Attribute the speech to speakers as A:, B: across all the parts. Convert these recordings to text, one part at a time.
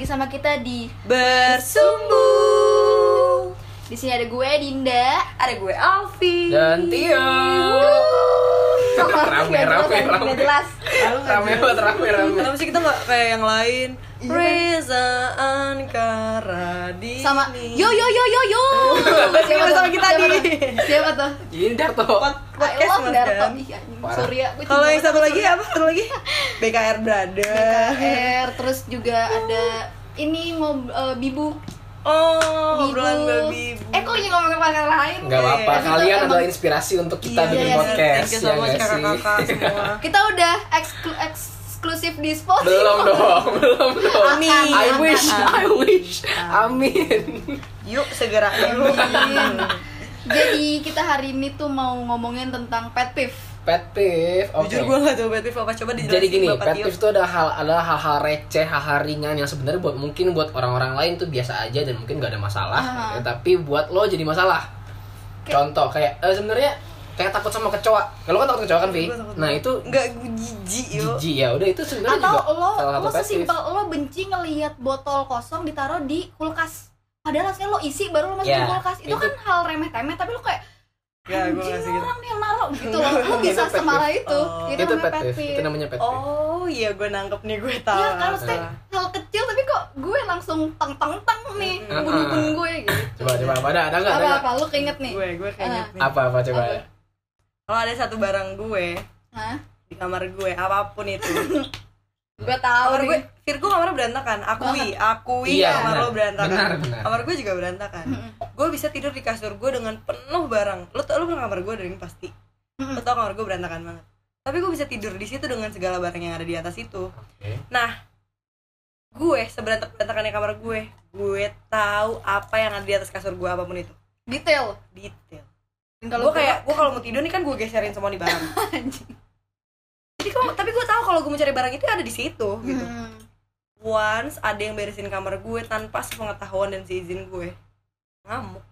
A: bersama kita di
B: Bersumbu.
A: di sini ada gue Dinda.
B: Ada gue Alfi.
C: Dan Tio. Rame,
A: Nggak jelas,
C: rame,
A: nggak
C: rame.
A: jelas.
C: Rame banget, rame, rame.
B: Kenapa sih kita nggak kayak yang lain?
A: Iya kan?
B: Reza Ankara di
A: Sama yo yo yo yo yo.
B: Siapa sama kita
A: Siapa
B: di-
A: tuh? Siapa tuh?
C: Ini Darto.
A: I
B: podcast
A: love
B: Mas
A: Darto.
B: Dan.
A: Ih, anjing,
C: Parah.
A: sorry ya. gue cinta
B: Kalau yang
A: banget
B: satu
A: sama
B: lagi apa? Satu lagi BKR Brother.
A: BKR, terus juga ada ini mau eh, bibu
B: Oh, obrolan berbibu.
A: eh kok jadi ngomongin pasangan lain
C: Nggak apa-apa,
A: Maksudnya
C: kalian
A: emang-
C: adalah inspirasi untuk kita
A: Iya,
C: bikin
A: iya,
C: podcast.
B: Thank you
C: ya
B: so much
C: nggak sih?
B: kakak-kakak semua.
A: kita udah eksklu- eksklusif di Spotify
C: Belum dong, belum dong.
B: Amin.
C: I wish, I wish.
B: Nah.
C: Amin.
B: Yuk segera yuk.
A: Iya. jadi kita hari ini tuh mau ngomongin tentang pet peeve
C: Pet peeve, oke.
B: Jujur gue gak tau pet peeve apa coba dijelasin
C: Jadi gini,
B: Bapak
C: pet
B: Tio.
C: peeve itu ada hal adalah hal-hal receh, hal-hal ringan yang sebenarnya buat mungkin buat orang-orang lain tuh biasa aja dan mungkin gak ada masalah,
A: Aha.
C: gitu. tapi buat lo jadi masalah.
A: Kayak-
C: Contoh kayak eh, sebenarnya kayak takut sama kecoa. Kalau kan takut kecoa kan, Vi?
B: Iya, Gua takut
C: Nah, itu
B: nggak gue jijik yuk.
C: jijik ya. Udah itu sebenarnya
A: atau
C: juga
A: lo
C: salah satu
A: lo
C: pet peeve.
A: sesimpel lo benci ngelihat botol kosong ditaruh di kulkas padahal rasanya lo isi baru lo masukin
C: Ya,
A: kulkas itu,
C: itu-
A: kan hal remeh-temeh tapi lo kayak
B: Ya
A: anjing
B: gue ngasih
A: nih
B: gitu.
A: orang nih yang naruh gitu loh lo
C: Itu
A: bisa
C: pet peeve.
A: semarah itu
B: Oh.
A: itu,
C: Itu
A: namanya
C: pet peeve. Itu namanya pet peeve.
B: Oh iya gue nangkep nih gue tahu.
A: Iya kan maksudnya
C: Ah.
A: hal kecil tapi kok gue langsung teng teng teng nih
C: Mm-mm.
A: bun-bun gue gitu.
C: Ah. Coba coba apa ada ada enggak?
A: Apa apa lu keinget nih? Eh,
B: Gue gue kayaknya. nih.
C: Apa apa coba. ya.
A: Apa?
B: Kalau ada satu barang gue
A: Hah?
B: di kamar gue apapun itu.
A: Gue tahu
B: kamar
A: nih.
B: gue Virgo kamarnya berantakan. Akui, akui
C: Iya,
B: kamar
C: benar.
B: lo berantakan.
C: Benar, benar.
B: Kamar gue juga berantakan.
A: Mm-mm.
B: Gue bisa tidur di kasur gue dengan penuh barang. Lo tau lo pernah kamar gue dari pasti.
A: Mm-mm.
B: Lo tau kamar gue berantakan banget. Tapi gue bisa tidur di situ dengan segala barang yang ada di atas itu.
C: Oke.
B: Nah, gue seberantak berantakannya kamar gue, gue tahu apa yang ada di atas kasur gue apapun itu.
A: detail.
B: Detail.
A: Dan
B: Gue kayak gue kalau mau tidur nih kan gue geserin semua di barang.
A: anjing.
B: Jadi kalau- tapi gue tahu kalau gue mau cari barang itu ada di situ gitu.
A: Hmm.
B: Once ada yang beresin kamar gue tanpa sepengetahuan dan seizin gue. Ngamuk.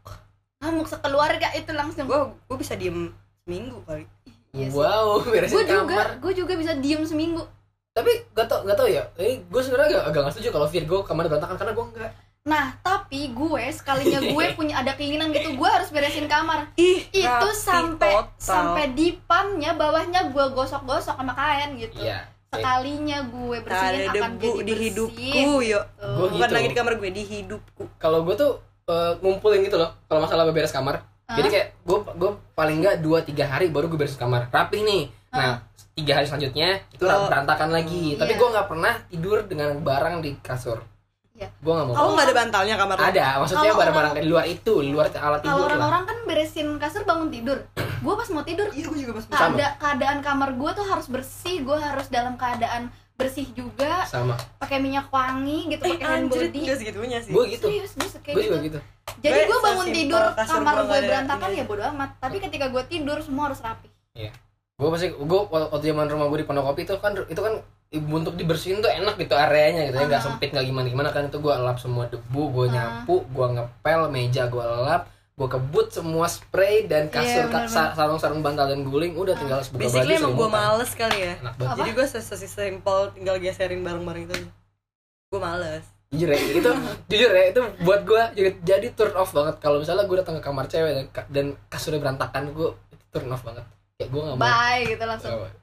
A: Ngamuk sekeluarga Ah, itu langsung.
B: Gue gue bisa diem seminggu kali.
A: Iya sih.
C: Wow,
A: Gue
C: beresin
A: juga,
C: kamar.
A: gue juga bisa diem seminggu.
C: Tapi gak tau, gak tau ya. Ini gue sebenarnya agak, agak gak setuju kalau Virgo kamar berantakan karena gue enggak.
A: Nah, tapi gue sekalinya gue punya ada keinginan gitu, gue harus beresin kamar.
B: Ih,
A: Itu
B: rapi
A: sampai
B: total.
A: sampai di pannya bawahnya gue gosok-gosok sama kaen gitu.
C: Iya.
A: Sekalinya gue
B: Tak
A: bersihin
B: ada
A: akan jadi
B: debu di
A: bersih. gitu.
B: hidupku yuk.
A: Tuh.
C: Gua-
B: Bukan
C: gitu.
B: lagi di kamar gue, di hidupku.
C: Kalau gue tuh eh, ngumpulin gitu loh kalau masalah beberes kamar. Jadi kayak gue gue paling nggak dua tiga hari baru gue beres kamar rapi nih. Nah tiga hari selanjutnya itu
B: Oh.
C: berantakan lagi.
A: Hmm,
C: Tapi
A: iya.
C: gue nggak pernah tidur dengan barang di kasur.
A: Iya.
C: Gue nggak mau.
B: Kalau nggak ada bantalnya kamar lo?
C: Ada, maksudnya
A: Kalau
C: barang-barang di luar itu, di luar alat
A: Kalau
C: tidur lah.
A: orang-orang kan beresin kasur bangun tidur. Gue pas mau tidur,
B: Iya, gue juga pas
C: Sama.
A: keada- keadaan kamar gue tuh harus bersih. Gue harus dalam keadaan bersih juga,
C: Sama.
A: pakai minyak wangi gitu,
B: Eh,
A: pakai hand
B: anjrit,
A: body.
B: nggak segitunya sih.
C: Gue gitu.
A: Serius, gue kayak
C: Gue juga
A: gitu.
C: gitu.
A: Jadi
B: Gue
A: gue bangun
B: sesimpel
A: tidur,
B: kasur
A: kamar
B: Iya. gua
A: gue
B: nggak ada
A: berantakan
B: ininya.
A: ya bodo amat. Tapi ketika gue tidur semua harus rapi.
C: Gue pasti gue waktu zaman rumah gue di Pondokopi itu kan itu kan untuk dibersihin tuh enak gitu areanya gitu ya nggak
A: Ah.
C: sempit nggak gimana gimana kan itu gue lap semua debu gue
A: Ah.
C: nyapu gue ngepel meja gue lap gue kebut semua spray dan kasur
A: Iya, bener-bener.
C: sa- sarung-sarung bantal dan guling udah tinggal sebuah
B: Basically emang gue males kali ya.
C: enak banget
A: Apa?
B: Jadi gue sesimpel tinggal geserin bareng-bareng itu. Gue males.
C: jujur ya itu jujur ya itu buat gue jadi, jadi turn off banget kalau misalnya gue datang ke kamar cewek dan, ka- dan kasurnya berantakan gue itu turn off banget ya gue nggak mau
A: Bye gitu langsung.
C: Nggak mau.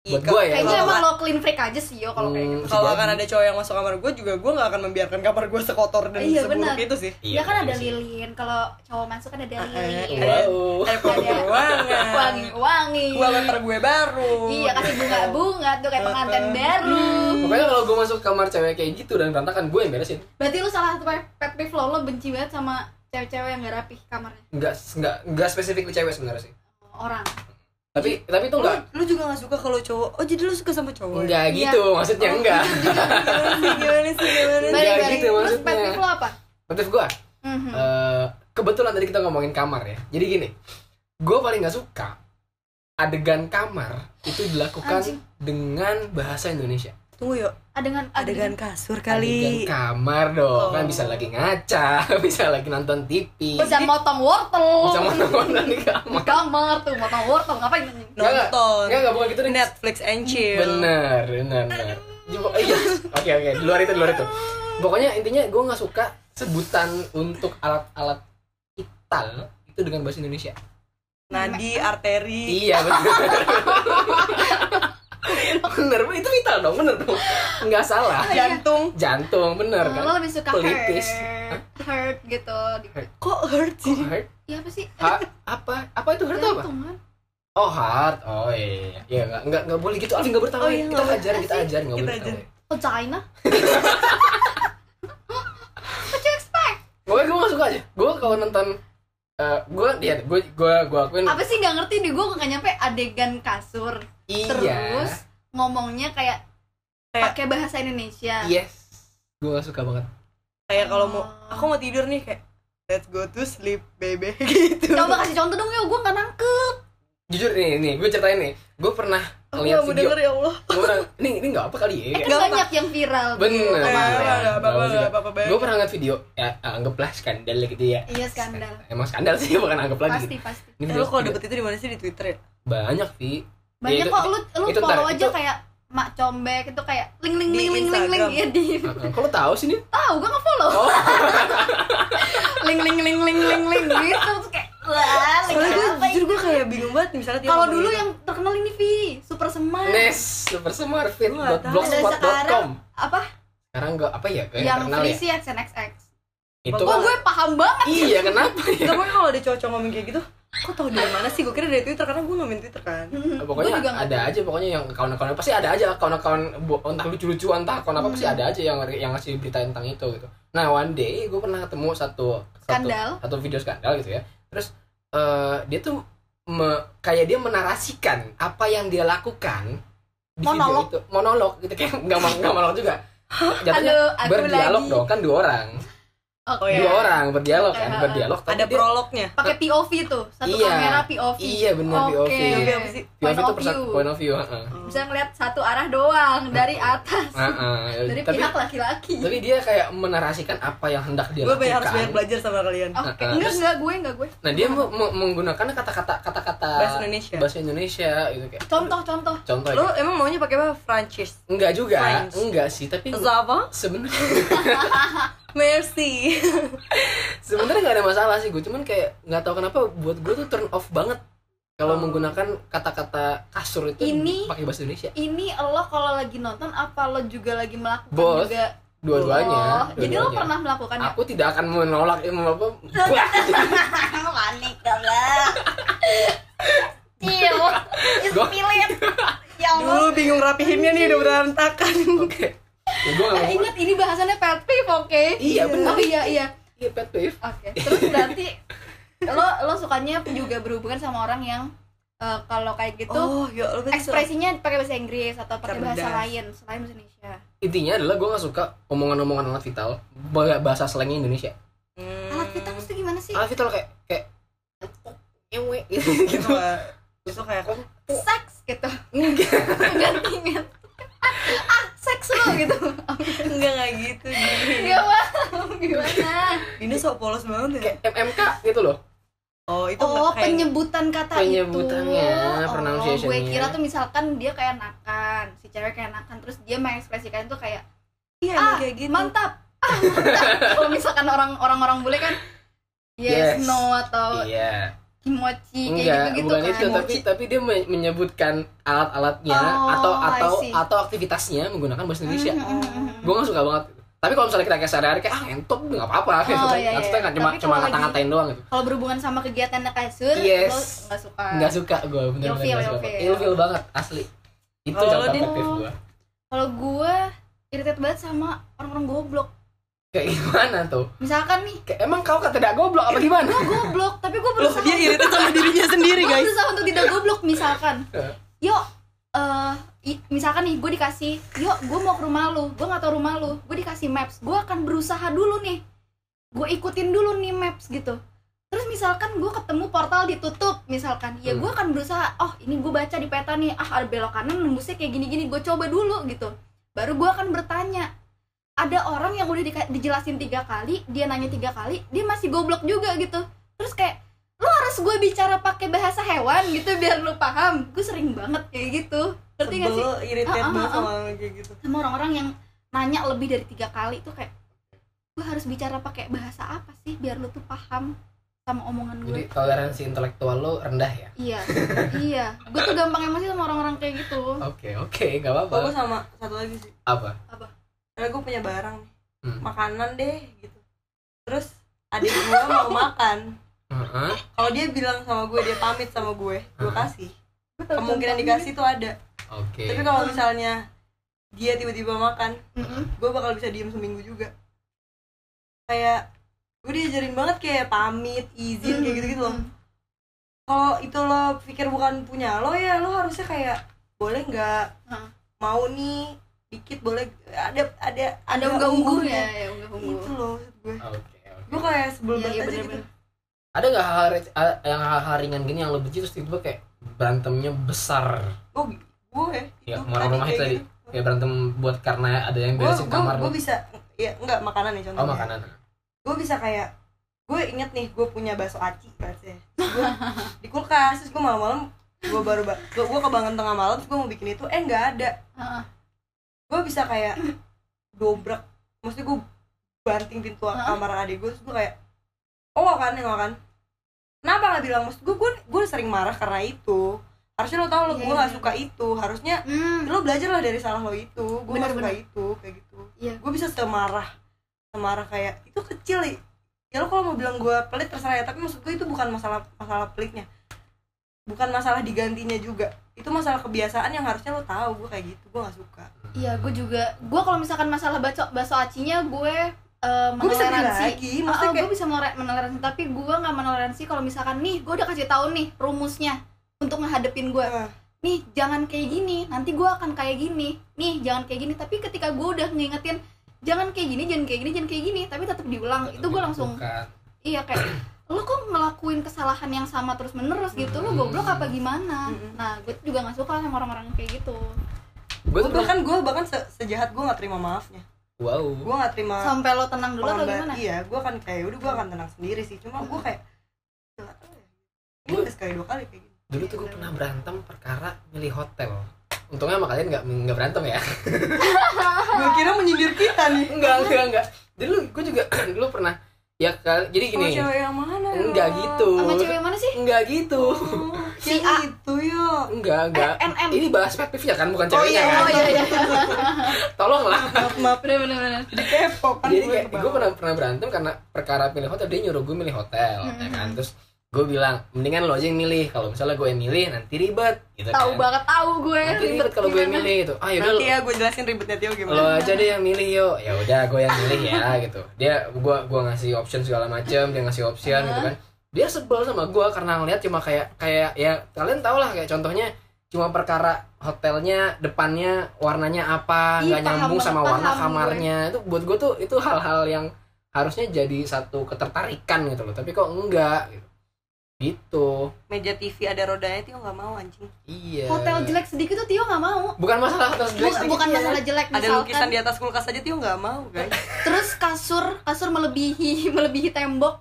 C: Buat gue ya,
A: Kayaknya
C: Kalau
A: emang lo clean freak aja sih yo kalau kayak gitu.
C: Hmm,
B: kalau
C: bisa
B: akan
C: jadi.
B: ada cowok yang masuk kamar gue juga gue nggak akan membiarkan kamar gue sekotor dan
A: Iya,
B: seburuk
A: benar.
B: itu sih
A: Ya kan ada
C: iya sih.
A: lilin, kalau cowok masuk kan ada lilin.
B: Iya.
C: wow
B: eh
A: Ada
B: ruangan
A: wangi-wangi.
B: dua meter gue baru
A: Iya kasih bunga-bunga tuh kayak
B: Eh,
A: pengantin baru.
C: Pokoknya kalau gue masuk kamar cewek kayak gitu dan berantakan gue yang beresin.
A: Berarti lu salah satu pe- pet peeve lo, lo benci banget sama cewek-cewek yang gak rapi kamarnya
C: Enggak enggak enggak spesifik ke cewek sebenarnya sih.
A: orang.
C: Tapi tapi itu
B: lu,
C: enggak
B: lu juga nggak suka kalau cowok oh jadi lu suka sama cowok
C: enggak
A: Iya.
C: gitu maksudnya enggak.
B: gimana sih gimana sih gimana sih?
C: Enggak
A: Balik-balik.
C: gitu
A: Terus
C: maksudnya.
A: pet peeve lo apa?
C: Motif gue
A: Mhm.
C: eh, kebetulan tadi kita ngomongin kamar ya. Jadi gini, gue paling nggak suka adegan kamar itu dilakukan
A: Anjing.
C: dengan bahasa Indonesia.
B: tunggu yuk
A: Adegan
B: adegan kasur
C: Adegan
B: kali
C: kamar
B: Oh.
C: dong, kan bisa lagi ngaca, bisa lagi nonton TV,
A: bisa motong wortel
C: bisa nonton di kamar.
A: di kamar tuh motong wortel ngapain anjing?
C: Enggak, enggak,
B: nonton
C: enggak bukan gitu deh.
B: Netflix and chill
C: Bener, bener, bener. Di- iya. Oke oke, di luar itu, di luar itu. Pokoknya intinya gue nggak suka sebutan untuk alat-alat vital itu dengan bahasa Indonesia.
B: nadi arteri
C: Iya bener bener itu vital dong, bener dong. Nggak salah.
A: iya.
B: jantung
C: Jantung bener kan.
A: lo lebih suka
C: Pelipis.
A: hurt hurt gitu Di-
B: kok hurt
C: Kok
B: sih
C: heart?
A: iya apa sih
C: Ha- apa? Apa itu heart apa?
A: Jantung kan?
C: Oh heart. Oh iya. Ya nggak nggak nggak boleh gitu. Alvin nggak bertawa.
B: Oh, iya,
C: kita
B: nggak
C: ajar, kita ajar nggak
B: Kita
C: boleh.
B: ajar.
C: bertawa.
A: oh China what you expect
C: Pokoknya gue gak suka aja. Gue kalau nonton eh, gue ya gue gue gue akuin
A: apa sih nggak ngerti di gue nggak nyampe adegan kasur
C: iya.
A: terus ngomongnya kayak
B: Kayak-
A: pakai bahasa Indonesia
C: Yes. Gue gak suka banget.
B: kayak kalau mau aku mau tidur nih kayak let's go to sleep baby gitu
A: coba kasih contoh dong ya gue nggak nangkep
C: Jujur nih nih, gue ceritain nih. Gue pernah
B: aku
C: lihat
B: gak mau
C: video.
B: denger ya Allah
C: Gue pernah ini ini gak apa kali ya.
A: eh, kan
B: Nggak apa.
A: banyak yang viral gitu tuh.
C: Bener.
A: Sama
C: Nggak
A: gue.
C: apa-apa.
B: apa-apa
C: Gue pernah ngeliat video ya anggaplah skandal gitu ya.
A: iya skandal
C: Emang skandal sih bukan anggap lagi.
A: pasti pasti
B: lu
C: Ini video
B: Eh, kalau
C: video-
B: dapet itu di mana sih di Twitter ya
C: banyak sih.
A: banyak
C: itu-
A: kok lu lu
C: Iya, itu ntar,
A: follow aja
C: itu-
A: kayak mak combek itu kayak ling ling
B: Di
A: ling ling ling ling
B: Instagram.
A: ya di
C: Kalau tahu sih nih.
A: tahu gue nggak follow
C: Oh.
A: ling ling ling ling ling ling gitu Terus kayak wah ling
B: soalnya ya? gue
A: apa ini?
B: jujur gue kayak bingung banget misalnya dia
A: kalau
B: ngomong
A: dulu
B: gitu.
A: yang terkenal ini Vi super semar
C: Nes Super Smartfit
B: Gua nggak tahu.
A: sekarang
C: blogspot.com.
A: apa
C: Sekarang gue apa ya? Kayak
A: yang
C: terkenal ya.
A: Felicia XNXX
C: Itu
A: oh gue paham banget
C: Iya, kenapa ya?
B: Gak boleh kalau ada cowok ngomong kayak gitu Kok tau dari mana sih? Gue kira dari Twitter karena gue main Twitter kan
C: Nah, pokoknya
A: Gua juga nggak
C: ada
A: tahu.
C: aja pokoknya yang kawan-kawan pasti ada aja kawan-kawan bu- entah lucu-lucuan entah kawan apa pasti
A: Hmm.
C: ada aja yang yang ngasih berita tentang itu gitu nah one day gue pernah ketemu satu satu,
A: Skandal.
C: satu video skandal gitu ya terus eh, dia tuh me- kayak dia menarasikan apa yang dia lakukan di
A: Monolog.
C: video itu monolog gitu kayak nggak mau nggak monolog juga jatuhnya
A: Halo, aku
C: berdialog
A: lagi.
C: dong kan dua orang
A: Oke.
B: Oh, iya.
C: dua orang berdialog kan
A: Oke, ha.
C: berdialog tapi
B: Ada
C: dia-
B: prolognya
A: pakai POV tuh satu
C: Iya.
A: kamera POV
C: Iya, bener,
A: Oke.
C: POV.
B: Tapi apa sih?
A: point
C: itu
A: of
C: persa-
A: view.
C: point of view heeh.
A: bisa ngeliat satu arah doang dari atas
C: Heeh.
A: dari
C: Nah, Tapi-
A: pihak laki-laki oke
C: tapi dia kayak menarasikan apa yang hendak dia
B: Gue
C: lakukan.
B: harus banyak belajar sama kalian
C: Nah,
A: enggak
C: terus-
A: enggak gue enggak gue
C: Nah dia me- me- menggunakan kata-kata kata-kata
B: Bahasa Indonesia.
C: bahasa Indonesia gitu kayak
A: contoh contoh
C: contoh
B: Lo emang maunya pakai apa? Francis
C: enggak juga
B: French.
C: enggak sih tapi
B: Zava
C: sebenarnya
B: Merci
C: sebenarnya nggak ada masalah sih gue cuman kayak nggak tahu kenapa buat gue tuh turn off banget kalau menggunakan kata-kata kasur itu
A: Oh. Ini-
C: pakai bahasa Indonesia
A: ini lo kalau lagi nonton apa lo juga lagi melakukan
C: Both.
A: juga
C: dua-duanya
A: Oh, jadi lo
C: dua-duanya.
A: pernah melakukan ya?
C: aku tidak akan menolak em, apa Wah,
A: Panik lah. Cium,
C: Gua-
A: ispilit. Ya Allah.
B: Dulu bingung rapihinnya nih udah berantakan
C: oke ya, gue nggak
A: Eh,
C: mau
A: ingat ini bahasannya pet peeve, oke?
C: Iya, benar.
A: Oh iya iya.
C: iya pet peeve
A: Oke. Terus berarti lo lo sukanya juga berhubungan sama orang yang eh, kalau kayak gitu
B: Oh ya lo
A: ekspresinya pakai bahasa Inggris atau pakai bahasa
B: Cerdas.
A: lain selain bahasa Indonesia.
C: intinya adalah gue nggak suka omongan-omongan alat vital bah- bahasa slangnya Indonesia
A: Alat
B: Gitu.
A: vital itu gimana sih?
C: alat vital kayak kayak ewe gitu
B: gitu Itu kayak
A: Seks gitu. Ganti men. Ah, ah, seks lo gitu.
B: Enggak, enggak gitu
A: Gak paham gimana.
B: Ini sok polos banget ya
C: kayak MMK gitu loh
B: Oh itu
A: Oh,
B: kayak-
A: penyebutan kata
C: Penyebutannya,
A: itu. Oh,
C: pronunciation-nya.
A: gue kira tuh misalkan dia kayak nakan, si cewek kayak nakan, terus dia mengekspresikan tuh kayak
B: Iya emang
A: ah
B: kayak gitu
A: mantap. Ah, mantap. Kalau misalkan orang orang orang bule kan yes,
C: Yes.
A: no atau
C: iya
A: kimochi Oh,
C: enggak
A: kayak gitu gitu
C: bukan
A: kan.
C: itu tapi tapi dia me- menyebutkan alat-alatnya
A: Oh,
C: atau
A: I
C: atau
A: see.
C: atau aktivitasnya menggunakan bahasa Indonesia
A: Mm, mm, mm, mm.
C: gue nggak suka banget tapi kalau misalnya kita kayak sehari-hari kayak ah entok nggak apa-apa
A: Oh,
C: kayak gitu.
A: iya, iya.
C: maksudnya nggak cuma
A: Tapi
C: cuma
A: kalau lagi-
C: ngata-ngatain doang gitu
A: Kalau berhubungan sama kegiatan naik kasur,
C: Yes.
A: lo nggak suka.
C: nggak suka gue bener-bener
A: Ilfeel,
C: nggak suka
A: ilfeel.
C: ilfeel banget asli itu
B: Kalau lo,
C: contoh
B: Din?
C: pet peeve gue
A: Kalau gue irritate banget sama orang-orang goblok.
C: kayak gimana tuh
A: Misalkan nih,
C: kayak, emang kau kata tidak goblok
A: Iya.
C: apa gimana
A: gue goblok, tapi gue
B: Loh
A: berusaha
B: Oh, dia irit iya, sama dirinya sendiri
A: gue
B: guys
A: berusaha untuk tidak goblok misalkan
C: Eh.
A: yuk eh i- misalkan nih gue dikasih yuk gue mau ke rumah lu gue nggak tau rumah lu gue dikasih maps gue akan berusaha dulu nih gue ikutin dulu nih maps gitu terus misalkan gue ketemu portal ditutup misalkan ya gue akan berusaha oh ini gue baca di peta nih ah ada belok kanan nembusnya kayak gini gini gue coba dulu gitu baru gue akan bertanya ada orang yang udah dika- dijelasin tiga kali dia nanya tiga kali dia masih goblok juga gitu terus kayak lu harus gue bicara pakai bahasa hewan gitu biar lu paham gue sering banget kayak gitu Ngerti gak sih?
B: sebel irritate
A: Ah, ah,
B: banget
A: ah,
B: sama orang kayak gitu
A: Sama orang-orang yang nanya lebih dari tiga kali tuh kayak gue harus bicara pakai bahasa apa sih biar lu tuh paham sama omongan gue.
C: Jadi toleransi intelektual lo rendah ya?
A: Iya, iya. Gue tuh gampang emosi sama orang-orang kayak gitu.
C: Oke oke, nggak apa-apa.
B: Kalau gue sama satu lagi sih
C: Apa?
B: karena gue punya barang nih
C: Hmm.
B: makanan deh gitu terus adik gue mau makan
C: Heeh.
B: kalau dia bilang sama gue dia pamit sama gue gue kasih kemungkinan dikasih tuh ada
C: Hmm. Oke.
B: tapi kan kalau misalnya dia tiba-tiba makan
A: Mm-mm.
B: gue bakal bisa diem seminggu juga kayak gue diajarin banget kayak pamit
A: Hmm.
B: izin kayak gitu gitu loh kalau Oh, itu lo pikir bukan punya lo ya lo harusnya kayak boleh nggak
A: Heeh.
B: mau nih dikit boleh ada ada
A: Ada unggah-ungguhnya ya, unggah-ungguh.
B: itu loh maksud gue
C: Oke. oke.
B: gue kayak sebel
A: Iya, iya
B: banget aja gitu
A: bener-bener.
C: Ada nggak hal yang hal-hal ringan gini yang lo benci terus tiba-tiba kayak berantemnya besar?
B: gue gue
C: Ya, kemarin rumah itu tadi. Kayak berantem buat karena ada yang
B: gue
C: beresin kamar lo.
B: gue bisa ya enggak makanan ya
C: Oh
B: contohnya
C: makanan.
B: gue bisa kayak gue inget nih gue punya bakso aci bakso gue di kulkas terus gue malam-malam gue baru ba- gue gue kebangun tengah malam terus gue mau bikin itu eh nggak ada
A: Heeh.
B: gue bisa kayak dobrak maksudnya gue banting pintu kamar adik gue terus gue kayak oh nggak kan nggak kan kenapa nggak bilang maksud gue gue gue sering marah karena itu harusnya lo tau lo
A: Iya,
B: gue
A: iya,
B: nggak
A: iya.
B: suka itu harusnya
A: Hmm.
B: lo belajar lah dari salah lo itu gue nggak suka
A: Bener-bener.
B: itu kayak gitu
A: Iya.
B: gue bisa semarah semarah kayak itu kecil ya Ya lo kalau mau bilang gue pelit terserah ya tapi maksud gue itu bukan masalah masalah pelitnya bukan masalah digantinya juga itu masalah kebiasaan yang harusnya lo tahu gue kayak gitu gue nggak suka
A: Iya, gue juga. Gue kalau misalkan masalah bakso bakso acinya gue eh,
B: gue bisa beli
A: menoleransi.
B: lagi maksudnya
A: gue
B: kayak
A: bisa melore- menoleransi, tapi gue nggak menoleransi kalau misalkan nih, gue udah kasih tahu nih rumusnya untuk ngehadepin gue.
B: eh,
A: Nih, jangan kayak gini, nanti gue akan kayak gini. Nih, jangan kayak gini. Tapi ketika gue udah ngingetin, jangan kayak gini, jangan kayak gini, jangan kayak gini, tapi tetap diulang. itu gue langsung,
C: Bukan.
A: iya kayak, lo kok ngelakuin kesalahan yang sama terus menerus gitu, lo
C: Hmm.
A: goblok apa gimana?
B: Mm-mm.
A: Nah, gue juga nggak suka sama orang-orang kayak gitu.
C: Gue
B: gue
C: tuh
B: bahkan gue kan, bahkan se- sejahat gue nggak terima maafnya
C: wow.
B: gue nggak terima
A: Sampai lo tenang dulu atau
B: orang
A: gimana?
B: ba- iya gue kan kayak udah gue akan tenang sendiri sih cuma gue kayak "Gila, eh, ini
C: Gua-
B: udah sekali dua kali kayak gitu
C: Dulu tuh gue pernah berantem perkara milih hotel. Untungnya sama kalian nggak nggak berantem ya.
B: gue kira menyindir kita nih
C: enggak enggak enggak dulu gue juga dulu pernah ya kal- jadi
B: Sama
C: gini
B: cewek yang mana ya?
C: enggak gitu
A: Sama cewek mana sih?
C: enggak gitu
B: si
A: Si A.
B: Oh. itu yo
C: enggak enggak
A: Eh, NM.
C: ini bahas perspektifnya kan bukan
B: Oh, iya,
C: ceweknya kan
A: Oh iya iya.
C: tolonglah
B: maaf maaf
A: Bener bener bener.
B: jadi kepo kan
C: jadi
B: gue
C: kayak
B: kebawa.
C: gue pernah pernah berantem karena perkara pilih hotel dia nyuruh gue milih hotel ya kan terus gue bilang mendingan lo aja yang milih kalau misalnya gue yang milih nanti ribet gitu
A: Tahu
C: kan
A: banget tahu gue.
C: nanti ribet kalau gue yang
A: Gimana?
C: milih itu ah yaudah
B: nanti
C: lo-
B: ya gue jelasin ribetnya Tio
C: lo
B: gimana
C: aja deh yang milih yuk ya udah gue yang milih ya gitu dia gua gua ngasih option segala macam dia ngasih option gitu kan dia sebel sama gua karena ngeliat cuma kayak kayak ya kalian tau lah kayak contohnya cuma perkara hotelnya depannya warnanya apa
A: Ih,
C: nggak
A: paham
C: nyambung sama
A: banget,
C: warna
A: paham
C: kamarnya itu buat gue tuh itu hal-hal yang harusnya jadi satu ketertarikan gitu loh tapi kok enggak gitu, gitu.
B: meja TV ada rodanya Tio nggak mau anjing
C: iya
A: Hotel jelek sedikit tuh Tio nggak mau.
C: bukan masalah hotel jelek
A: Bukan,
C: sedikit
A: bukan
C: ya.
A: masalah jelek
B: ada lukisan
A: misalkan.
B: di atas kulkas aja Tio nggak mau guys
A: Terus kasur kasur melebihi melebihi tembok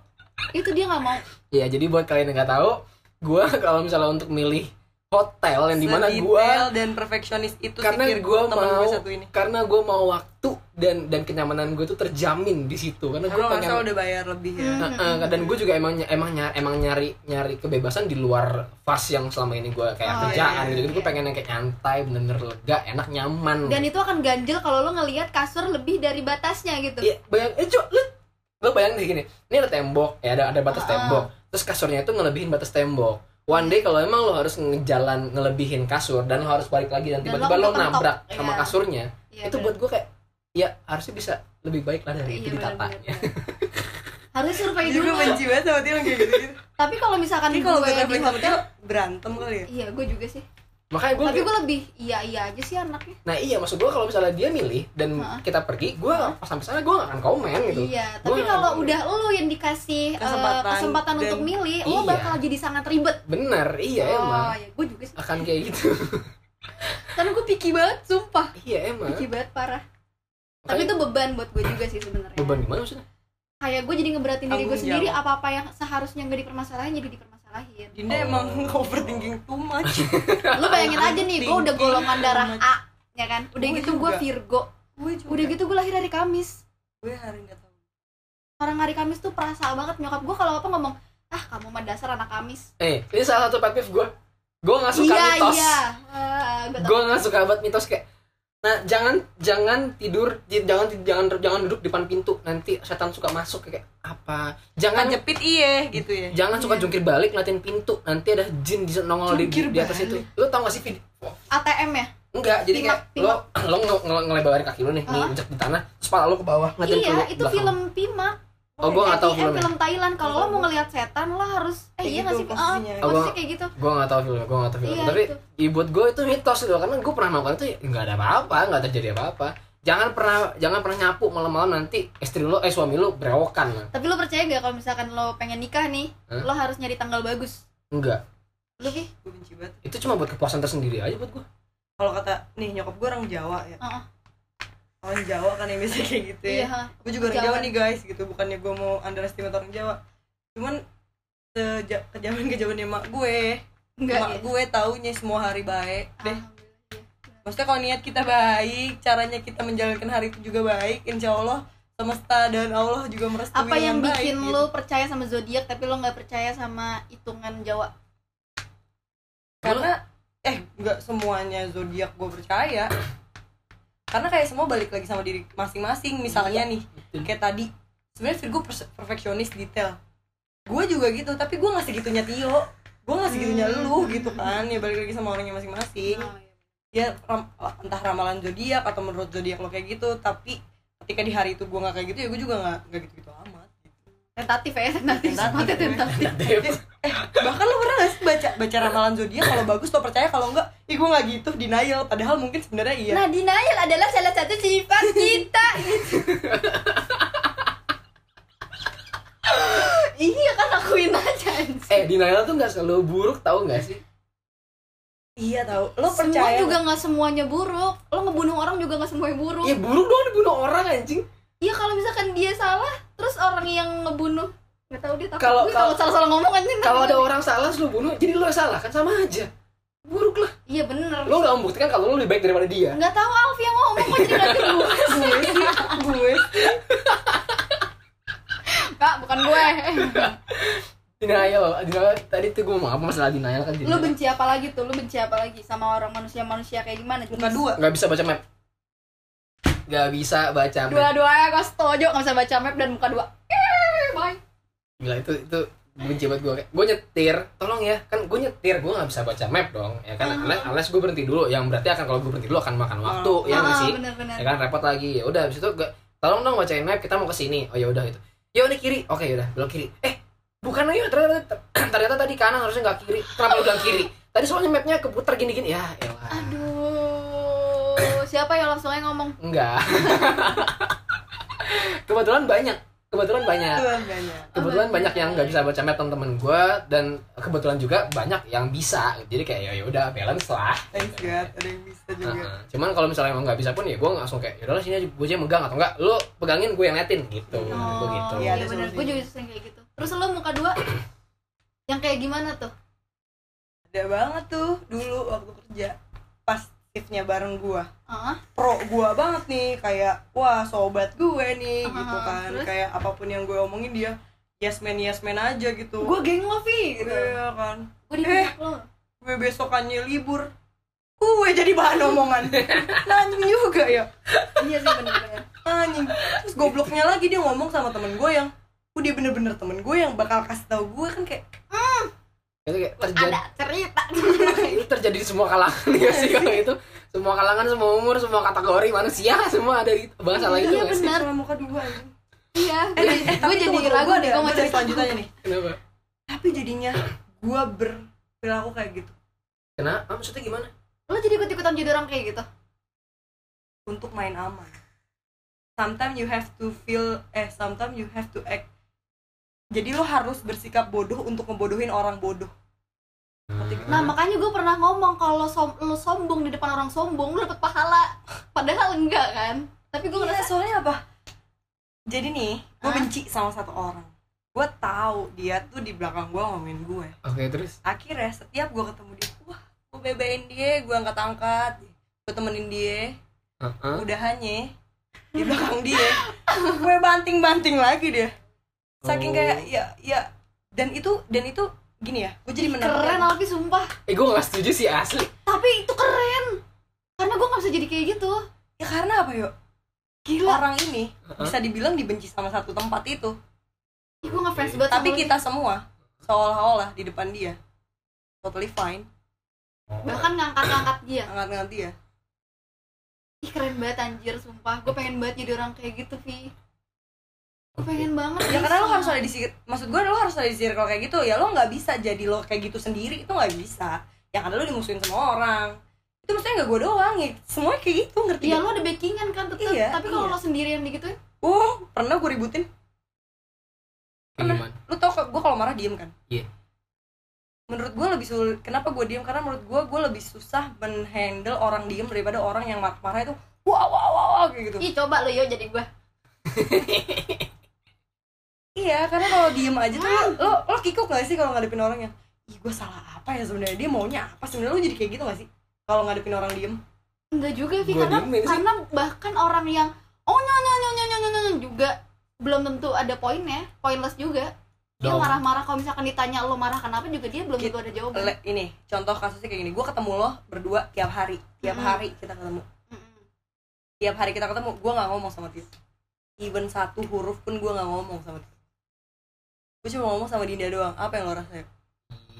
A: itu dia nggak mau.
C: Ya jadi buat kalian yang nggak tahu, gua kalau misalnya untuk milih hotel yang dimana
B: Sedetail
C: gua
B: dan perfeksionis itu
C: karena
B: sih Fir,
C: gua
B: temen
C: mau
B: gue satu ini
C: karena gua mau waktu dan dan kenyamanan gue tuh terjamin di situ karena
B: karena
C: gua pengen
B: masa udah bayar lebih ya
A: Hmm.
C: Heeh, dan gue juga emang emang nyari, emang nyari nyari kebebasan di luar fase yang selama ini gua kayak
A: Oh,
B: iya,
C: kerjaan gitu
A: iya.
C: gue pengen yang kayak nyantai bener-bener lega enak nyaman
A: Dan itu akan ganjel kalau lo ngelihat kasur lebih dari batasnya gitu.
C: Iya, bayang eh cok lu lu bayang deh gini ini ada tembok ya ada ada batas
A: Ah, ah.
C: tembok terus kasurnya itu ngelebihin batas tembok one day kalau emang lo harus ngejalan ngelebihin kasur dan lo harus balik lagi dan
A: Dan
C: tiba-tiba
A: lo
C: lo
A: kepentok,
C: nabrak sama
A: iya.
C: kasurnya
A: Iya, bener.
C: itu buat gue kayak ya harusnya bisa lebih baik lah dari
A: Iya,
C: itu
A: bener,
C: ditatanya
A: bener, bener. Harus survei
B: jadi
A: dulu.
B: gue benci banget sama Tio yang kayak gitu-gitu
A: Tapi kalau misalkan
B: Ini
A: gue
B: kalau gue
A: di
B: traveling sama
A: hotel,
B: Tio berantem kali ya
A: iya gue juga sih.
C: makanya gue
A: Tapi gue lebih iya iya aja sih anaknya.
C: nah iya maksud gue kalau misalnya dia milih dan
A: Ah.
C: kita pergi gue pas sampai sana gue gak akan komen gitu
A: Iya,
C: Gua
A: tapi
C: nggak
A: kalau
C: mau.
A: udah lo yang dikasih eh, kesempatan,
B: Kesempatan dan-
A: untuk milih, lo
C: Iya.
A: bakal jadi sangat ribet.
C: bener iya emang
A: Oh, iya, gue juga sih.
C: akan kayak gitu
A: Karena gue picky banget, sumpah.
C: iya emang
A: Picky banget parah. Tapi
C: Makanya
A: itu beban buat gue juga sih sebenarnya.
C: beban gimana maksudnya
A: Kayak gue jadi ngeberatin diri
B: Tanggung
A: gue sendiri
B: jawab.
A: apa-apa yang seharusnya gak dipermasalahin jadi dipermasalahin. salahin
B: Dinda
C: Oh.
B: emang overthinking too much
A: lu bayangin aja nih gue udah golongan darah A ya kan udah
B: Gua
A: gitu gue
B: juga.
A: Virgo
B: gue juga
A: udah gitu gue lahir hari Kamis
B: gue hari nggak tahu
A: orang hari Kamis tuh perasa banget nyokap gue kalau apa ngomong ah kamu mah dasar anak Kamis
C: eh ini salah satu pet peeve gue gue nggak suka
A: iya
C: mitos
A: iya Ah, gua tau.
C: gue nggak suka banget mitos kayak nah jangan jangan tidur j- jangan jangan jangan duduk depan pintu nanti setan suka masuk kayak apa jangan
B: jepit iye gitu ya
C: jangan suka
A: Iya.
C: jungkir balik ngeliatin pintu nanti ada jin di nongol di,
B: Jungkir
C: di atas itu
B: balik.
C: lu tau gak sih vid-
A: ATM ya
C: enggak jadi
A: Pimak,
C: kayak lo lo nge- nge- ngelebarin kaki lu nih nih
A: Hah?
C: injak di tanah terus kepala lu ke bawah ngeliatin
A: iya itu
C: ke belakang.
A: film Pimak
C: oh gue nggak tahu
A: film,
C: filmnya
A: film Thailand kalau lo
B: Nggak
A: mau
B: tahu.
A: ngelihat setan lo harus eh
B: Kayak
A: iya
B: gitu
A: nggak sih Ah,
B: posisinya.
C: Oh,
A: posisi
C: gua-
A: kayak gitu
C: gue nggak tahu filmnya gue nggak tahu filmnya
A: Iya,
C: tapi
A: itu.
C: ya, buat gue itu mitos gitu karena gue pernah melakukan itu ya, nggak ada apa-apa nggak terjadi apa-apa jangan pernah jangan pernah nyapu malam-malam nanti istri lo eh suami lo berewokan
A: tapi lo percaya gak kalau misalkan lo pengen nikah nih
C: Hah?
A: lo harus nyari tanggal bagus
C: enggak
A: lu Vi?
B: gue benci banget
C: itu cuma buat kepuasan tersendiri aja buat gue
B: kalau kata nih nyokap gue orang Jawa ya
A: Heeh.
B: orang Jawa kan yang biasa kayak gitu ya
A: iya ha.
B: gue juga orang Jawa.
A: Jawa.
B: nih guys gitu bukannya gue mau underestimate orang Jawa cuman seja- kejaman kejaman emak gue
A: enggak Ah.
B: emak
A: ya
B: gue taunya semua hari baik deh
A: Alhamdulillah.
B: maksudnya kalau niat kita baik caranya kita menjalankan hari itu juga baik insya Allah semesta dan Allah juga merestui
A: apa yang
B: dengan
A: bikin
B: baik, gitu.
A: lo percaya sama zodiak tapi lo nggak percaya sama hitungan Jawa
B: karena eh nggak semuanya zodiak gue percaya karena kayak semua balik lagi sama diri masing-masing misalnya
A: Iya.
B: nih kayak tadi sebenarnya Virgo perse- perfeksionis detail gue juga gitu tapi gue nggak segitunya Tio gue nggak segitunya
A: Hmm.
B: lu gitu kan ya balik lagi sama orangnya masing-masing
A: Ah, iya.
B: ya ram- entah ramalan zodiak atau menurut zodiak lo kayak gitu tapi ketika di hari itu gue nggak kayak gitu ya gue juga nggak nggak gitu gitu amat
A: tentatif ya tentatif
B: Tentatif.
A: Semuanya tentatif
B: eh bahkan lo pernah gak sih baca baca ramalan zodiak kalau bagus lo percaya kalau enggak ih gue nggak gitu denial padahal mungkin sebenarnya iya
A: nah denial adalah salah satu sifat kita gitu. iya kan akuin aja anjing.
C: eh denial tuh nggak selalu buruk tahu nggak sih
B: iya tahu lo
A: semua
B: percaya
A: juga nggak semuanya buruk lo ngebunuh orang juga nggak semuanya buruk
C: ya buruk doang dibunuh orang anjing
A: Iya kalau misalkan dia salah, terus orang yang ngebunuh nggak tahu dia takut.
C: Kalau-
A: Gue kalau
C: kalau-
A: salah salah ngomong kan anjing.
C: kalau ada orang salah terus lu bunuh jadi lu yang salah kan sama aja buruk lah
A: Iya bener.
C: lu nggak membuktikan kalau lu lebih baik daripada dia
A: Nggak tahu Alfi yang ngomong kok jadi lagi gue.
B: gue sih gue
A: Enggak, bukan gue.
C: denial denial tadi tuh gue mau apa masalah denial kan jadi
A: Lu benci apa lagi tuh? Lu benci apa lagi sama orang manusia-manusia kayak gimana?
B: buka dua
C: nggak bisa baca map nggak bisa baca map
A: Dua-duanya gue ya, setuju nggak bisa baca map dan muka dua. Eh, Bye.
C: gila itu itu benci banget gue gue nyetir tolong ya kan gue nyetir gue nggak bisa baca map dong ya kan
A: Ah.
C: unless, gue berhenti dulu yang berarti akan kalau gue berhenti dulu akan makan waktu ya nggak
A: Ah,
C: sih
A: bener-bener.
C: ya kan repot lagi ya udah habis itu gua- tolong dong bacain map kita mau ke sini oh ya udah gitu ya udah kiri oke yaudah belok kiri eh bukan ayo ternyata ternyata tadi kanan harusnya nggak kiri kenapa lu bilang kiri tadi soalnya mapnya keputar gini gini ya elah
A: Aduh, siapa yang langsung aja ngomong?
C: enggak kebetulan banyak kebetulan
A: Iya.
C: banyak
B: Tuhan kan banyak
C: kebetulan
A: Oh,
C: banyak
A: banyak.
C: yang nggak bisa baca map teman-teman gue dan kebetulan juga banyak yang bisa jadi kayak ya udah balance lah
B: thanks God ada yang bisa juga
C: Heeh. cuman kalau misalnya emang nggak bisa pun ya gue langsung kayak yaudahlah sini aja gue aja yang megang atau enggak lo pegangin gue yang netin gitu gue gitu
A: iya
B: Iya, ada
A: bener.
B: solusi.
A: Gue juga sering kayak gitu. Terus lu muka dua yang kayak gimana tuh?
B: ada banget tuh dulu waktu kerja pas shiftnya bareng gua
A: Ah,
B: pro gua banget nih kayak wah sobat gue nih
A: Ah,
B: gitu kan
A: terus?
B: kayak apapun yang gue omongin dia yes man yes man aja gitu
A: gue geng lo Vi gitu.
B: Iya kan
A: gue di pihak lo
B: gue besokannya libur gue jadi bahan omongan anjing juga ya
A: iya sih bener-bener
B: anjing terus gobloknya lagi dia ngomong sama temen gue yang "Oh, dia bener-bener temen gue yang bakal kasih tau gue kan kayak
C: itu kayak terjadi
A: ada cerita
C: itu terjadi di semua kalangan ya sih kalau itu semua kalangan semua umur semua kategori manusia semua ada di bahasa lagi itu
A: Iya,
C: nggak sih?
A: Benar.
B: sama muka dua anjing
A: iya
B: eh,
A: gue
B: eh, tapi
A: jadi
B: tunggu, tunggu,
A: ragu
B: gua
A: nih gue
B: ada- gua
A: mau
B: ada
A: cerita
B: selanjutnya nih
C: kenapa
B: tapi jadinya gue berperilaku kayak gitu
C: kenapa Ah, maksudnya gimana
A: lo jadi ikut ikutan jadi orang kayak gitu
B: untuk main aman. Sometimes you have to feel eh sometimes you have to act. Jadi lo harus bersikap bodoh untuk ngebodohin orang bodoh.
A: nah makanya gue pernah ngomong kalau som lo sombong di depan orang sombong lo dapet pahala padahal enggak kan tapi gue
B: Iya,
A: ngerasa
B: soalnya apa? Jadi nih, gue
A: Hah?
B: benci sama satu orang. gue tahu dia tuh di belakang gue ngomongin gue
C: Oke terus
B: akhirnya setiap gue ketemu dia wah gue bebein dia gue angkat angkat gue temenin dia
C: Heeh.
B: udahannya di belakang dia gue banting banting lagi dia saking
C: Oh.
B: kayak ya ya dan itu dan itu gini ya gue jadi
A: keren
B: menang
A: Alfi sumpah
C: Eh gue gak setuju sih asli
A: tapi itu keren karena gue nggak bisa jadi kayak gitu
B: ya karena apa yuk
A: gila
B: orang ini
C: Heeh.
B: bisa dibilang dibenci sama satu tempat itu
A: gue nggak fans banget
B: tapi
A: sama lu.
B: kita semua seolah-olah di depan dia totally fine
A: bahkan ngangkat-ngangkat dia
B: ngangkat-ngangkat dia
A: Ih, keren banget anjir sumpah gue pengen banget jadi orang kayak gitu Vi gue pengen banget
B: ya karena lo
A: bisa.
B: harus ada di circle maksud gue lo harus ada di circle kayak gitu ya lo nggak bisa jadi lo kayak gitu sendiri itu nggak bisa ya karena lo dimusuhin sama orang itu maksudnya nggak gue doang ya semuanya kayak gitu ngerti
A: Iya
B: gak?
A: lo ada backingan kan tetep
B: Iya,
A: Tapi kalau
B: iya.
A: lo sendirian gitu, digituin
B: oh pernah gue ributin
C: Kayak gimana?
B: lo tau kok gue kalau marah diem kan
C: Iya.
B: menurut gue lebih sulit kenapa gue diem karena menurut gue gue lebih susah menhandle orang diem daripada orang yang marah-marah itu wow wow wow, wow kayak gitu
A: Ih coba lo yo jadi gue
B: Iya, karena kalau diem aja tuh lo- lo lo kikuk gak sih kalau ngadepin orang yang ih gue salah apa ya sebenarnya dia maunya apa sebenarnya lo jadi kayak gitu gak sih kalau ngadepin orang diem
A: Enggak juga Vi
C: Gua
A: karena,
C: diemin sih.
A: karena bahkan orang yang Oh nyonya nyonya nyonya nyonya juga Belum tentu ada poinnya Pointless juga Dia
C: Dong.
A: marah-marah kalau misalkan ditanya lo marah kenapa juga dia belum
B: Gitu.
A: tentu ada jawaban
B: Le- ini contoh kasusnya kayak gini gue ketemu lo berdua tiap hari tiap
A: Mm.
B: hari kita ketemu
A: Mm-mm.
B: tiap hari kita ketemu gue nggak ngomong sama Tis even satu huruf pun gue nggak ngomong sama Tis gue cuma ngomong sama Dinda doang apa yang lo rasain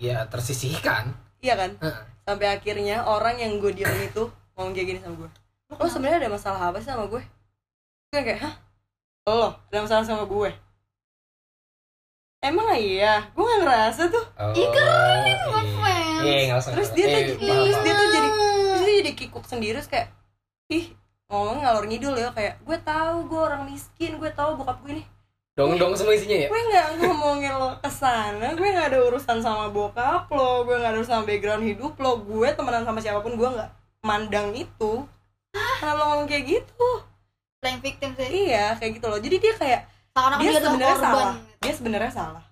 C: Iya tersisihkan
B: iya kan
C: Heeh.
B: sampai akhirnya orang yang gue diemin itu ngomong kayak gini sama gue lo sebenarnya ada masalah apa sih sama gue gue kayak hah lo ada masalah sama gue emang iya gue nggak ngerasa tuh
C: Oh,
A: Ih, keren,
C: iya.
A: ngefans.
C: Iya, nggak usah
B: Terus
C: ngefans.
B: dia
C: Iya,
B: lagi-
C: paham,
B: terus
C: paham.
B: dia tuh jadi- terus dia jadi kikuk sendiri terus kayak ih ngomong ngalor ngidul ya kayak gue tahu gue orang miskin gue tahu bokap gue nih
C: dong-dong semua isinya ya.
B: gue nggak ngomongin lo kesana gue nggak ada urusan sama bokap lo gue nggak ada urusan sama background hidup lo gue temenan sama siapapun gue nggak mandang itu kenapa lo ngomong kayak gitu
A: Playing victim sih
B: iya kayak gitu loh jadi dia kayak
A: Seakan-akan
B: dia
A: dia, adalah
B: sebenarnya
A: korban
B: salah dia sebenarnya salah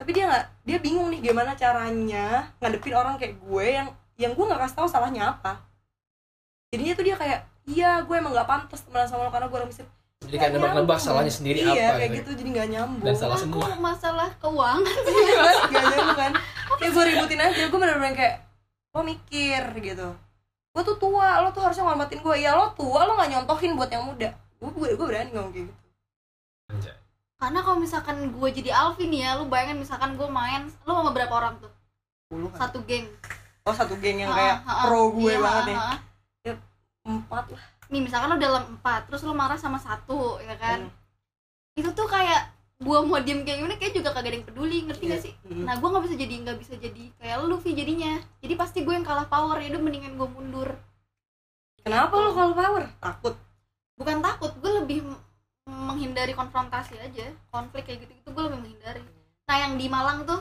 B: tapi dia nggak dia bingung nih gimana caranya ngadepin orang kayak gue yang yang gue nggak kasih tahu salahnya apa jadinya tuh dia kayak iya gue emang nggak pantas temenan sama lo karena gue orang miskin
C: Jadi kayak nebak-nebak salahnya sendiri
B: iya,
C: apa
B: kayak
C: gitu.
B: gitu jadi nggak nyambung
C: Dan salah semua.
A: Aku masalah keuangan
B: Iya kan? Gak nyambung kan Kayak gue ributin aja, gue bener-bener kayak Lo mikir gitu Gue tuh tua, lo tuh harusnya ngormatin gue Ya lo tua, lo gak nyontohin buat yang muda Gue gue, gue berani ngomong kayak gitu
C: Anjay.
A: Karena kalau misalkan gue jadi Alvin ya Lu bayangin misalkan gue main Lu sama berapa orang tuh?
B: Puluh kan?
A: Satu geng
B: Oh satu geng yang kayak
A: Ha-ha, ha-ha.
B: pro gue
A: Iya,
B: banget ya
A: ha-ha.
B: Empat lah
A: nih misalkan lo dalam empat terus lo marah sama satu ya kan itu tuh kayak gua mau diem kayak gimana kayak juga kagak ada yang peduli ngerti gak sih
B: Mm.
A: nah gua nggak bisa jadi nggak bisa jadi kayak lu Vi jadinya jadi pasti gue yang kalah power ya udah mendingan gue mundur
B: Kenapa lo kalau power? Takut
A: bukan takut gue lebih m- menghindari konfrontasi aja konflik kayak gitu gitu gue lebih menghindari nah yang di Malang tuh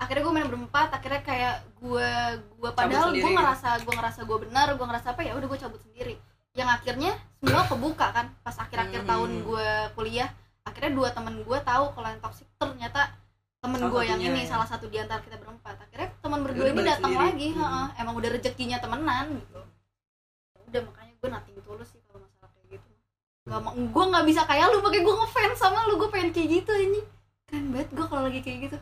A: akhirnya gue main berempat akhirnya kayak gue gue padahal gue
B: sendiri gitu.
A: ngerasa gue ngerasa gue benar gue ngerasa apa ya udah gue cabut sendiri yang akhirnya semua kebuka kan pas akhir-akhir
B: Hmm.
A: tahun gue kuliah akhirnya dua temen gue tahu kalau yang toxic ternyata temen
B: Salah
A: gue yang
B: satunya
A: ini
B: ya.
A: salah satu di antara kita berempat akhirnya teman
B: Udah
A: berdua ini
B: balik
A: datang
B: sendiri.
A: lagi
B: Hmm.
A: heeh. emang udah rezekinya temenan gitu Ya udah makanya gue nothing tulus sih kalau masalah kayak gitu gak mau gue nggak bisa kayak lu pakai gue ngefans sama lu gue pengen kayak gitu ini keren banget gue kalau lagi kayak gitu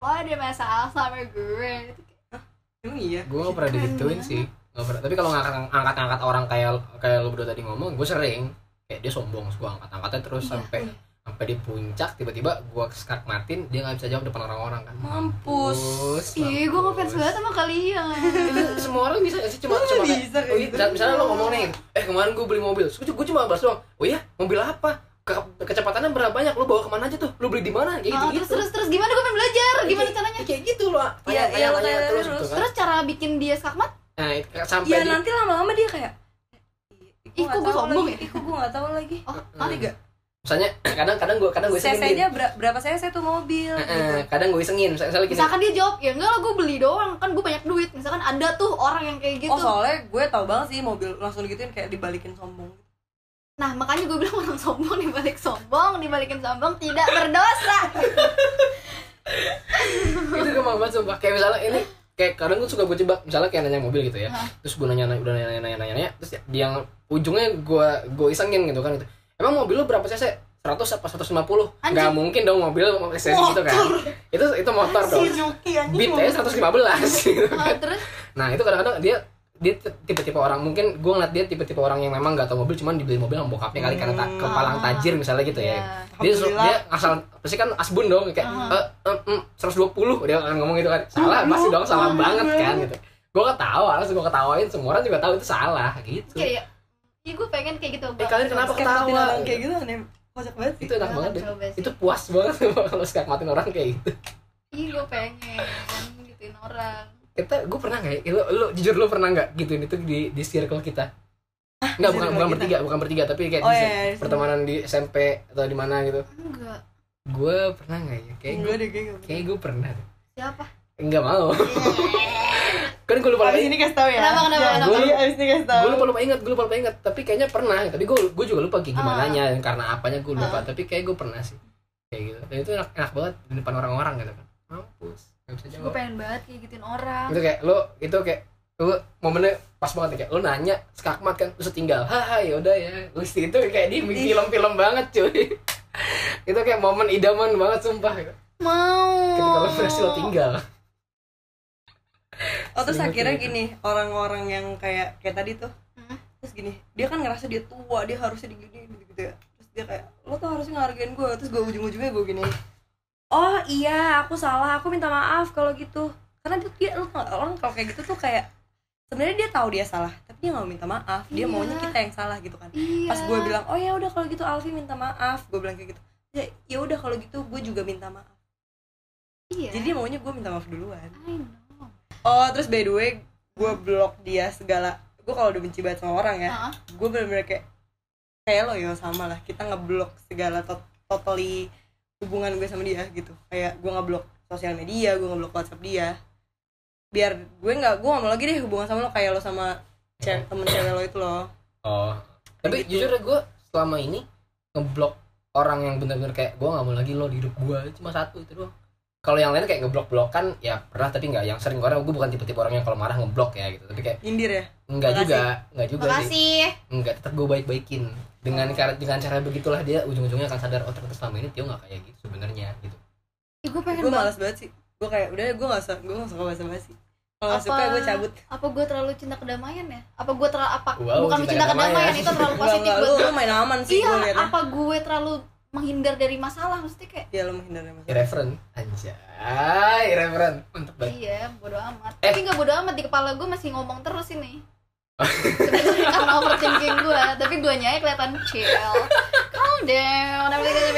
A: lo ada masalah sama gue Itu kayak,
B: Emang iya
C: Gue gak pernah
A: Keren
C: digituin
A: banget.
C: sih. Nggak pernah. Tapi kalau ngangkat- ngangkat-ngangkat orang kayak kayak lu berdua tadi ngomong, gue sering kayak dia sombong, gue angkat-angkatnya terus
A: Iya,
C: sampai
A: iya.
C: sampai di puncak tiba-tiba gue skak matin dia nggak bisa jawab depan orang-orang kan.
B: Mampus
A: ih gue ngefans
C: mampus.
A: banget sama kalian
C: Itu semua orang bisa nggak sih cuma
B: Lu
C: cuma kayak,
B: bisa kayak
C: oh iya,
B: gitu.
C: misal- misalnya lo ngomong nih eh kemarin gue beli mobil gue cuma bahas doang oh iya mobil apa Ke- kecepatannya berapa banyak lo bawa kemana aja tuh lo beli di mana kayak
A: Ah,
C: gitu
A: terus terus terus gimana gue pengen belajar gimana caranya
C: kayak gitu lo
B: Iya,
C: tanya,
B: iya,
C: tanya,
B: lo
C: tanya
B: tanya
C: terus,
B: terus.
C: gitu kan
A: terus Iya, cara bikin dia skakmat
C: nah it- sampai
B: Ya
C: di
B: nanti lama-lama dia kayak
A: Ih, kok gue sombong ya?
B: Ih kok gue gak tau lagi
A: oh
C: Hmm.
A: tiga
C: misalnya kadang-kadang gue kadang gue isengin dia.
B: CC-nya ber- berapa CC tuh mobil
C: Eh, eh,
B: gitu
C: kadang gue isengin misalnya, misalnya gini
A: misalkan dia jawab ya enggak lah gue beli doang kan gue banyak duit misalkan ada tuh orang yang kayak gitu
B: Oh soalnya gue tau banget sih mobil langsung gituin kayak dibalikin sombong
A: Nah, makanya gue bilang orang sombong dibalik sombong, dibalikin sombong tidak berdosa.
C: itu gue mau banget sumpah kayak misalnya ini kayak kadang gue suka gue jebak misalnya kayak nanya mobil gitu ya
A: Hah.
C: terus gue nanya udah nanya nanya nanya, nanya terus di yang ujungnya gue gue isengin gitu kan gitu emang mobil lu berapa cc 100 apa 150 nggak
A: Anjing.
C: mungkin dong mobil cc gitu kan
B: Motor.
C: itu itu motor dong
B: Suzuki anjing
C: beat ya, aja 115 gitu
A: Ah,
C: kan
A: terus
C: nah itu kadang-kadang dia dia t- tipe-tipe orang mungkin gue ngeliat dia tipe-tipe orang yang memang gak tau mobil cuman dibeli mobil sama bokapnya kali karena ta-
B: Hmm.
C: kepalang tajir misalnya gitu ya
A: Iya.
C: dia suruh-
B: Alhamdulillah.
C: dia asal pasti kan asbun dong kayak
A: Ah.
C: "Eh, em, em, 120 dia akan ngomong gitu kan salah
B: Aduh,
C: pasti dong salah
B: aduh.
C: banget kan gitu gue ketawa harus gue ketawain semua orang juga tahu itu salah gitu
A: kayak ya gue pengen kayak gitu.
C: eh kalian kenapa
B: Ketawa
C: ketawa
B: orang kayak gitu aneh kocak banget sih
C: itu enak banget ya. deh
A: Coba sih.
C: itu puas banget kalau skakmatin orang kayak gitu
A: Ih, gue pengen gituin orang.
C: kita gue pernah nggak ya? lu, lu jujur lu pernah nggak gituin itu di di circle kita nggak bukan
B: circle
C: bukan
B: kita?
C: bertiga bukan bertiga tapi kayak
B: Oh,
C: di
B: iya, iya, iya.
C: pertemanan di SMP atau di mana gitu
A: Enggak.
C: gue pernah nggak ya kayak gue
B: gue deh kayak gitu.
C: kayak gue pernah deh.
A: Siapa?
C: nggak mau kan gue lupa
B: abis ini kasih tau ya
A: Kenapa, kenapa,
B: Jangan,
A: kenapa?
B: jadi abis ini kasih tau
C: gue lupa lupa ingat gue lupa lupa ingat tapi kayaknya pernah tapi gue gue juga lupa kayak gimana nya dan karena apanya gue lupa tapi kayak gue pernah sih kayak gitu dan itu enak, enak banget di depan orang-orang gitu kan mampus nggak bisa
A: Gue
C: jawab
A: pengen banget kayak gituin orang.
C: itu kayak lo itu kayak lo momennya pas banget nih, kayak lo nanya skakmat kan terus tinggal haha yaudah ya terus itu kayak di film-film banget cuy itu kayak momen idaman banget sumpah gitu.
A: Mau.
C: ketika lo berhasil lo tinggal
B: oh terus
C: Sering
B: akhirnya
C: gitu.
B: gini orang-orang yang kayak kayak tadi tuh
A: Hmm.
B: terus gini dia kan ngerasa dia tua dia harusnya digini gitu gitu ya terus dia kayak lo tuh harusnya ngehargain gue terus gue ujung-ujungnya gue gini oh iya aku salah aku minta maaf kalau gitu karena dia, dia lo tau nggak, orang kalau kayak gitu tuh kayak sebenarnya dia tahu dia salah tapi dia nggak mau minta maaf dia
A: Iya.
B: maunya kita yang salah gitu kan
A: Iya.
B: pas gue bilang oh ya udah kalau gitu Alfi minta maaf gue bilang kayak gitu ya ya udah kalau gitu gue juga minta maaf
A: Iya.
B: jadi dia maunya gue minta maaf duluan
A: I know.
B: oh terus by the way gue blok dia segala gue kalau udah benci banget sama orang ya
A: Ah,
B: gue bener-bener kayak kayak lo ya sama lah kita ngeblok segala tot totally hubungan gue sama dia gitu kayak gue ngeblok sosial media gue ngeblok whatsapp dia biar gue nggak gue nggak mau lagi deh hubungan sama lo kayak lo sama ce- temen cewek lo itu lo
C: oh tapi jujur gue selama ini ngeblok orang yang bener-bener kayak gue nggak mau lagi lo di hidup gue cuma satu itu doang kalau yang lain kayak ngeblok-blokan ya pernah tapi nggak yang sering orang gue bukan tipe-tipe orang yang kalau marah ngeblok ya gitu tapi kayak
B: indir ya
C: enggak
B: Makasih.
C: juga enggak juga sih
A: Makasih.
C: Enggak, tetap gue baik-baikin dengan cara dengan cara begitulah dia ujung-ujungnya akan sadar oh ternyata selama ini Tio nggak kayak gitu sebenarnya gitu
A: Ih, gue pengen
B: gue
A: banget.
B: malas banget sih gue kayak udah gue nggak suka gue nggak suka bahasa basi kalau nggak
A: Apa-
B: suka gue cabut
A: Apa gue terlalu cinta kedamaian ya? Apa gue terlalu apa?
C: Wow,
A: bukan
C: cinta
A: cinta kedamaian,
C: kedamaian.
A: itu terlalu
B: Enggak,
A: positif
B: enggak,
A: buat
B: lu,
A: gue.
B: lu main aman sih
A: Iya.
B: gue liatnya
A: Apa gue terlalu menghindar dari masalah? Maksudnya kayak
B: ya lo menghindari masalah
C: irreverent anjay irreverent mantep banget
A: Iya, bodo amat.
C: Eh.
A: Tapi nggak bodo amat di kepala gue masih ngomong terus ini. Sebenarnya karena overthinking gue, tapi guanya kelihatan chill. Calm down, everything is